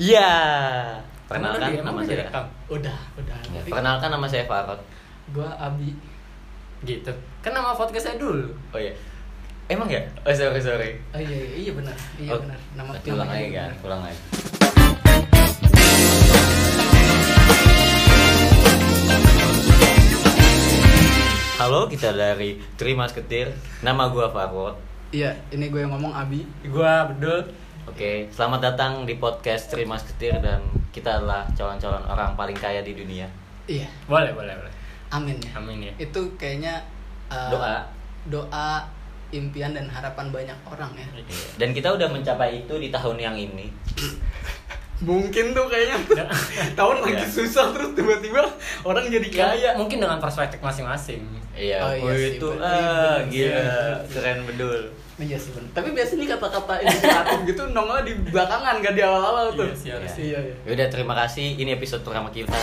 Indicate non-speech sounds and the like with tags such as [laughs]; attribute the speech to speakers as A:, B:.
A: Iya.
B: Emang
A: Perkenalkan
B: udah di- emang
A: kan nama
B: udah
A: saya.
B: direkam? Udah, udah.
A: Ya,
B: Nanti
A: perkenalkan nama saya Farod.
B: Gua Abi. Gitu. Kan nama podcastnya dulu.
A: Oh iya. Emang ya? Oh sorry sorry.
B: Oh iya iya, iya benar. Iya
A: Oh,
B: benar. Nama
A: Ulang
B: filmnya
A: lagi
B: juga
A: kan,
B: benar.
A: ulang lagi. Halo, kita dari Terima Ketir. Nama gua Farod.
B: Iya, ini gue yang ngomong Abi.
C: Gua Abdul
A: Oke, selamat datang di podcast Terima Ketir dan kita adalah calon-calon orang paling kaya di dunia.
B: Iya,
C: boleh boleh boleh
B: amin ya.
C: amin ya
B: Itu kayaknya eh,
A: Doa.
B: Doa impian dan harapan banyak orang ya.
A: Dan kita udah mencapai itu di tahun yang ini.
B: Mungkin tuh kayaknya
A: [laughs]
B: tahun
A: lagi
B: susah terus tiba-tiba orang jadi
C: kayak Iya. mungkin dengan perspektif masing-masing
A: Iya,
B: Oh, iya
A: oh,
B: sih,
A: itu
B: bener. Iya,
A: ah,
B: Bener
C: sih,
A: gila,
C: bener sih.
A: keren bedul.
B: Iya sih benar. Tapi biasanya nih kata-kata inspiratif gitu nongol di belakangan gak di
A: Iya.
B: awal-awal tuh.
C: Iya sih, harus.
B: Iya, iya.
A: Yaudah terima kasih ini episode pertama kita.